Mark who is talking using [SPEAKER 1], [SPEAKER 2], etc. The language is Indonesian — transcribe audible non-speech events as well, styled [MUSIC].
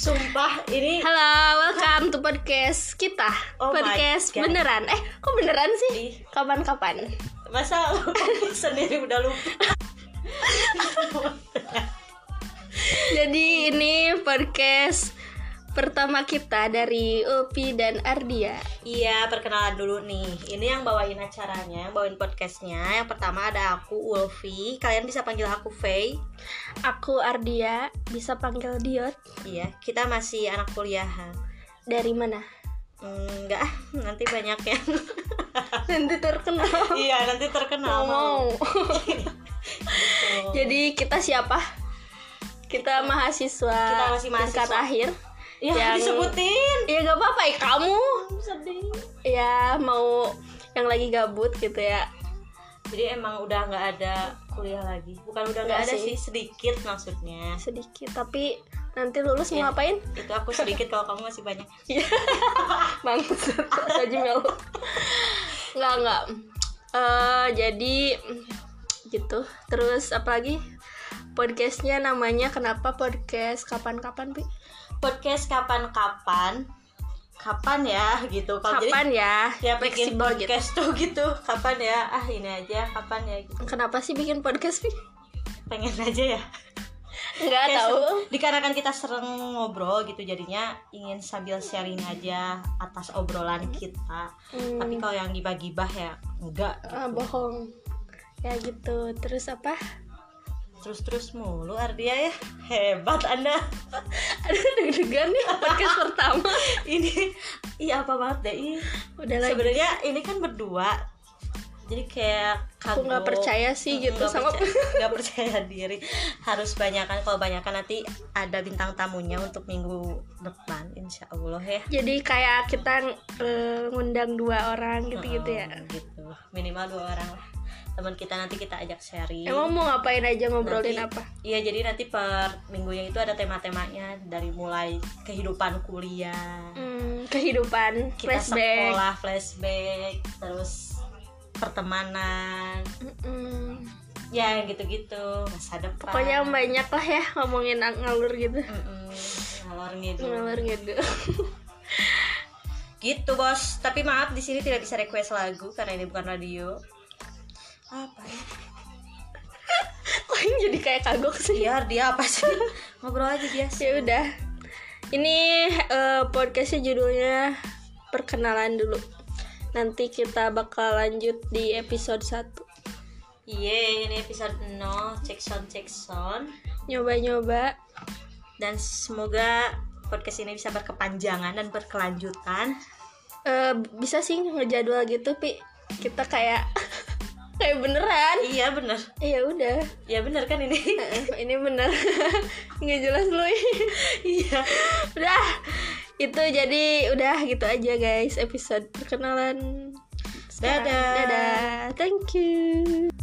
[SPEAKER 1] Sumpah ini
[SPEAKER 2] Halo, welcome to podcast kita.
[SPEAKER 1] Oh my
[SPEAKER 2] podcast
[SPEAKER 1] God.
[SPEAKER 2] beneran. Eh, kok beneran
[SPEAKER 1] Ih.
[SPEAKER 2] sih? Kapan-kapan?
[SPEAKER 1] masa [LAUGHS] lu sendiri udah lupa.
[SPEAKER 2] Jadi ini podcast pertama kita dari Upi dan Ardia.
[SPEAKER 1] Iya, perkenalan dulu nih. Ini yang bawain acaranya, yang bawain podcastnya. Yang pertama ada aku Ulfi. Kalian bisa panggil aku Faye.
[SPEAKER 2] Aku Ardia, bisa panggil Diot.
[SPEAKER 1] Iya, kita masih anak kuliahan.
[SPEAKER 2] Dari
[SPEAKER 1] [LAUGHS]
[SPEAKER 2] mana?
[SPEAKER 1] Hmm, Enggak, ah, [LAUGHS] nanti banyak yang
[SPEAKER 2] Nanti terkenal.
[SPEAKER 1] [LAUGHS] Iya, nanti terkenal.
[SPEAKER 2] Mau.
[SPEAKER 1] Gitu.
[SPEAKER 2] Jadi kita siapa? Kita mahasiswa.
[SPEAKER 1] Kita masih mahasiswa.
[SPEAKER 2] tingkat akhir.
[SPEAKER 1] ya,
[SPEAKER 2] yang-
[SPEAKER 1] disebutin.
[SPEAKER 2] Ya gak apa-apa ya kamu.
[SPEAKER 1] Sedih.
[SPEAKER 2] Ya mau yang lagi gabut gitu ya.
[SPEAKER 1] Jadi emang udah nggak ada kuliah lagi. Bukan udah nggak
[SPEAKER 2] Nggak
[SPEAKER 1] ada sih,
[SPEAKER 2] sih.
[SPEAKER 1] sedikit maksudnya.
[SPEAKER 2] sedikit tapi nanti lulus
[SPEAKER 1] Iya.
[SPEAKER 2] mau ngapain?
[SPEAKER 1] Itu aku sedikit kalau kamu masih banyak.
[SPEAKER 2] Bangsat, [LAUGHS] aja melu. Enggak, enggak. Eh, jadi gitu. Terus apalagi podcastnya namanya kenapa podcast kapan-kapan Pi?
[SPEAKER 1] Podcast kapan-kapan. Kapan ya gitu. Kalau jadi
[SPEAKER 2] Kapan ya?
[SPEAKER 1] ya bikin
[SPEAKER 2] Fleksibel gitu.
[SPEAKER 1] podcast tuh gitu. Kapan ya? Ah, ini aja kapan ya gitu.
[SPEAKER 2] Kenapa sih bikin podcast
[SPEAKER 1] [LAUGHS]
[SPEAKER 2] Pi?
[SPEAKER 1] Pengen aja ya.
[SPEAKER 2] Enggak
[SPEAKER 1] Kayak
[SPEAKER 2] tahu.
[SPEAKER 1] se- dikarenakan kita sering ngobrol gitu jadinya ingin sambil sharing aja atas obrolan kita.
[SPEAKER 2] Hmm,
[SPEAKER 1] Tapi kalau yang gibah-gibah ya enggak
[SPEAKER 2] ah, bohong. Ya gitu. Terus apa? [LAUGHS]
[SPEAKER 1] terus-terus mulu Ardia ya. Hebat Anda. [LAUGHS]
[SPEAKER 2] Aduh deg-degan nih podcast pertama.
[SPEAKER 1] ini iya apa banget deh ini.
[SPEAKER 2] Udah lagi.
[SPEAKER 1] Sebenarnya ini kan berdua. Jadi kayak
[SPEAKER 2] Aku nggak
[SPEAKER 1] kagok.
[SPEAKER 2] percaya sih gitu
[SPEAKER 1] nggak
[SPEAKER 2] sama
[SPEAKER 1] percaya, nggak percaya [LAUGHS] diri harus banyakan kalau banyakan nanti ada bintang tamunya untuk minggu depan insya allah ya
[SPEAKER 2] jadi kayak kita eh, ngundang dua orang gitu-gitu ya
[SPEAKER 1] Mm, gitu minimal dua orang lah teman kita nanti kita ajak sharing
[SPEAKER 2] emang mau ngapain aja ngobrolin
[SPEAKER 1] Nanti-
[SPEAKER 2] apa
[SPEAKER 1] iya jadi nanti per minggunya itu ada tema-temanya dari mulai kehidupan kuliah
[SPEAKER 2] Hmm, kehidupan
[SPEAKER 1] kita
[SPEAKER 2] flashback
[SPEAKER 1] sekolah flashback terus pertemanan
[SPEAKER 2] Mm-mm.
[SPEAKER 1] ya yang gitu-gitu masa depan
[SPEAKER 2] pokoknya banyak lah ya ngomongin ang- ngalur gitu
[SPEAKER 1] Mm-mm, ngalor ngidul
[SPEAKER 2] ngalur gitu [LAUGHS]
[SPEAKER 1] gitu bos tapi maaf di sini tidak bisa request lagu karena ini bukan radio apa ya
[SPEAKER 2] kok ini jadi kayak kagok sih
[SPEAKER 1] biar Iya, dia apa sih [LAUGHS] Iya, ngobrol aja biasa
[SPEAKER 2] ya udah ini eh, podcastnya judulnya perkenalan dulu nanti kita bakal lanjut di episode 1
[SPEAKER 1] Yeay, ini episode 0 cek sound cek sound
[SPEAKER 2] nyoba-nyoba
[SPEAKER 1] dan semoga podcast ini bisa berkepanjangan dan berkelanjutan
[SPEAKER 2] Eh, bisa sih ngejadwal gitu pi kita kayak [LAUGHS] kayak beneran
[SPEAKER 1] iya bener
[SPEAKER 2] ya udah
[SPEAKER 1] iya bener kan [LAUGHS] ini
[SPEAKER 2] Eh, ini bener [LAUGHS] nggak jelas lu [LAUGHS]
[SPEAKER 1] iya
[SPEAKER 2] udah itu jadi udah gitu aja guys episode perkenalan sekarang.
[SPEAKER 1] Dadah.
[SPEAKER 2] dadah thank you